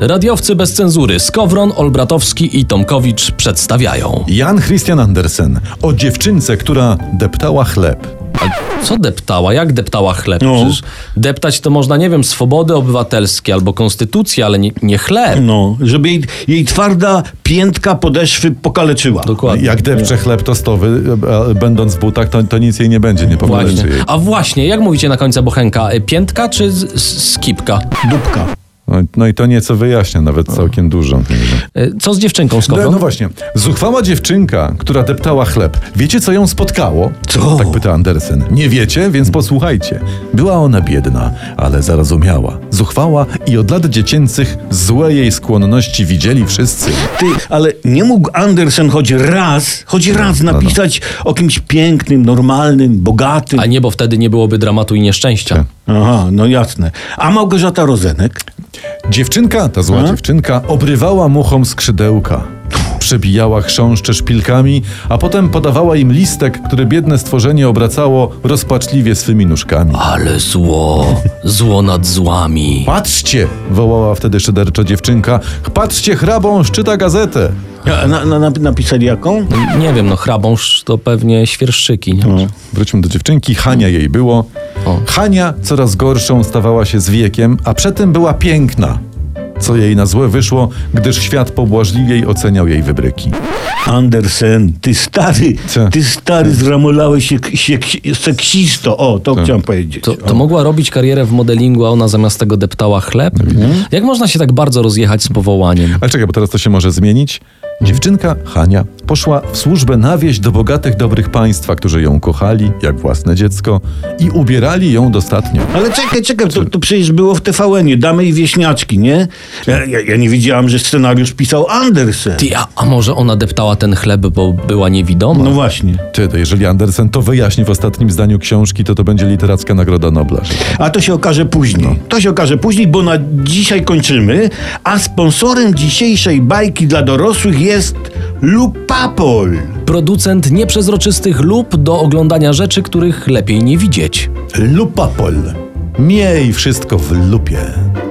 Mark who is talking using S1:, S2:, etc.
S1: Radiowcy bez cenzury Skowron, Olbratowski i Tomkowicz przedstawiają.
S2: Jan Christian Andersen o dziewczynce, która deptała chleb.
S1: Co deptała? Jak deptała chleb?
S3: No.
S1: Przecież deptać to można, nie wiem, swobody obywatelskie albo konstytucję, ale nie, nie chleb.
S3: No, żeby jej, jej twarda piętka podeszwy pokaleczyła.
S1: Dokładnie.
S2: Jak depcze chleb tostowy, e, e, będąc w butach, to, to nic jej nie będzie, nie
S1: Właśnie.
S2: pomagacie jej.
S1: A właśnie, jak mówicie na końca bochenka? Y, Piętka czy z- z- skipka?
S3: Dupka.
S2: No, no i to nieco wyjaśnia, nawet całkiem dużo.
S1: Y, Co z dziewczynką z
S2: No,
S1: Kowron?
S2: no właśnie, zuchwała dziewczynka, która deptała chleb. Wiecie, co ją spotkało?
S3: Co?
S2: Tak pyta Andersen. Nie wiecie? Więc posłuchajcie. Była ona biedna, ale zarozumiała. Zuchwała i od lat dziecięcych złe jej skłonności widzieli wszyscy.
S3: Ty, ale nie mógł Andersen choć raz, choć raz
S1: No,
S3: napisać o kimś pięknym, normalnym, bogatym.
S1: A nie, bo wtedy nie byłoby dramatu i nieszczęścia.
S2: Tak.
S3: Aha, no jasne. A Małgorzata Rozenek?
S2: Dziewczynka, ta zła dziewczynka, obrywała muchom skrzydełka. Przebijała chrząszcze szpilkami, a potem podawała im listek, który biedne stworzenie obracało rozpaczliwie swymi nóżkami.
S1: Ale zło, zło nad złami.
S2: Patrzcie! wołała wtedy szyderczo dziewczynka. Patrzcie, hrabą szczyta gazetę.
S3: A, na, na, nap- napisali jaką?
S1: Nie wiem, no hrabąż to pewnie świerszczyki,
S2: No.
S1: nie?
S2: Wróćmy do dziewczynki, Hania jej było. Hania coraz gorszą stawała się z wiekiem, a przedtem była piękna. Co jej na złe wyszło, gdyż świat pobłażliwiej oceniał jej wybryki.
S3: Andersen, ty stary,
S2: Co?
S3: ty stary zramolałeś się, się seksisto. O, to chciałem powiedzieć.
S1: To, to mogła robić karierę w modelingu, a ona zamiast tego deptała chleb? Jak można się tak bardzo rozjechać z powołaniem?
S2: Ale czekaj, bo teraz to się może zmienić. Dziewczynka, Hania, poszła w służbę na wieś do bogatych, dobrych państwa, którzy ją kochali jak własne dziecko i ubierali ją dostatnio.
S3: Ale czekaj, czekaj, to, to przecież było w TVN-ie, Damy i Wieśniaczki, nie? Ja, ja, ja nie wiedziałam, że scenariusz pisał Andersen.
S1: Ty, a, a może ona deptała ten chleb, bo była niewidoma?
S3: No właśnie.
S2: Ty, to jeżeli Andersen to wyjaśni w ostatnim zdaniu książki, to to będzie literacka Nagroda Nobla. tak.
S3: A to się okaże później. To się okaże później, bo na dzisiaj kończymy, a sponsorem dzisiejszej bajki dla dorosłych jest Lupapol.
S1: Producent nieprzezroczystych lub do oglądania rzeczy, których lepiej nie widzieć.
S2: Lupapol. Miej wszystko w lupie.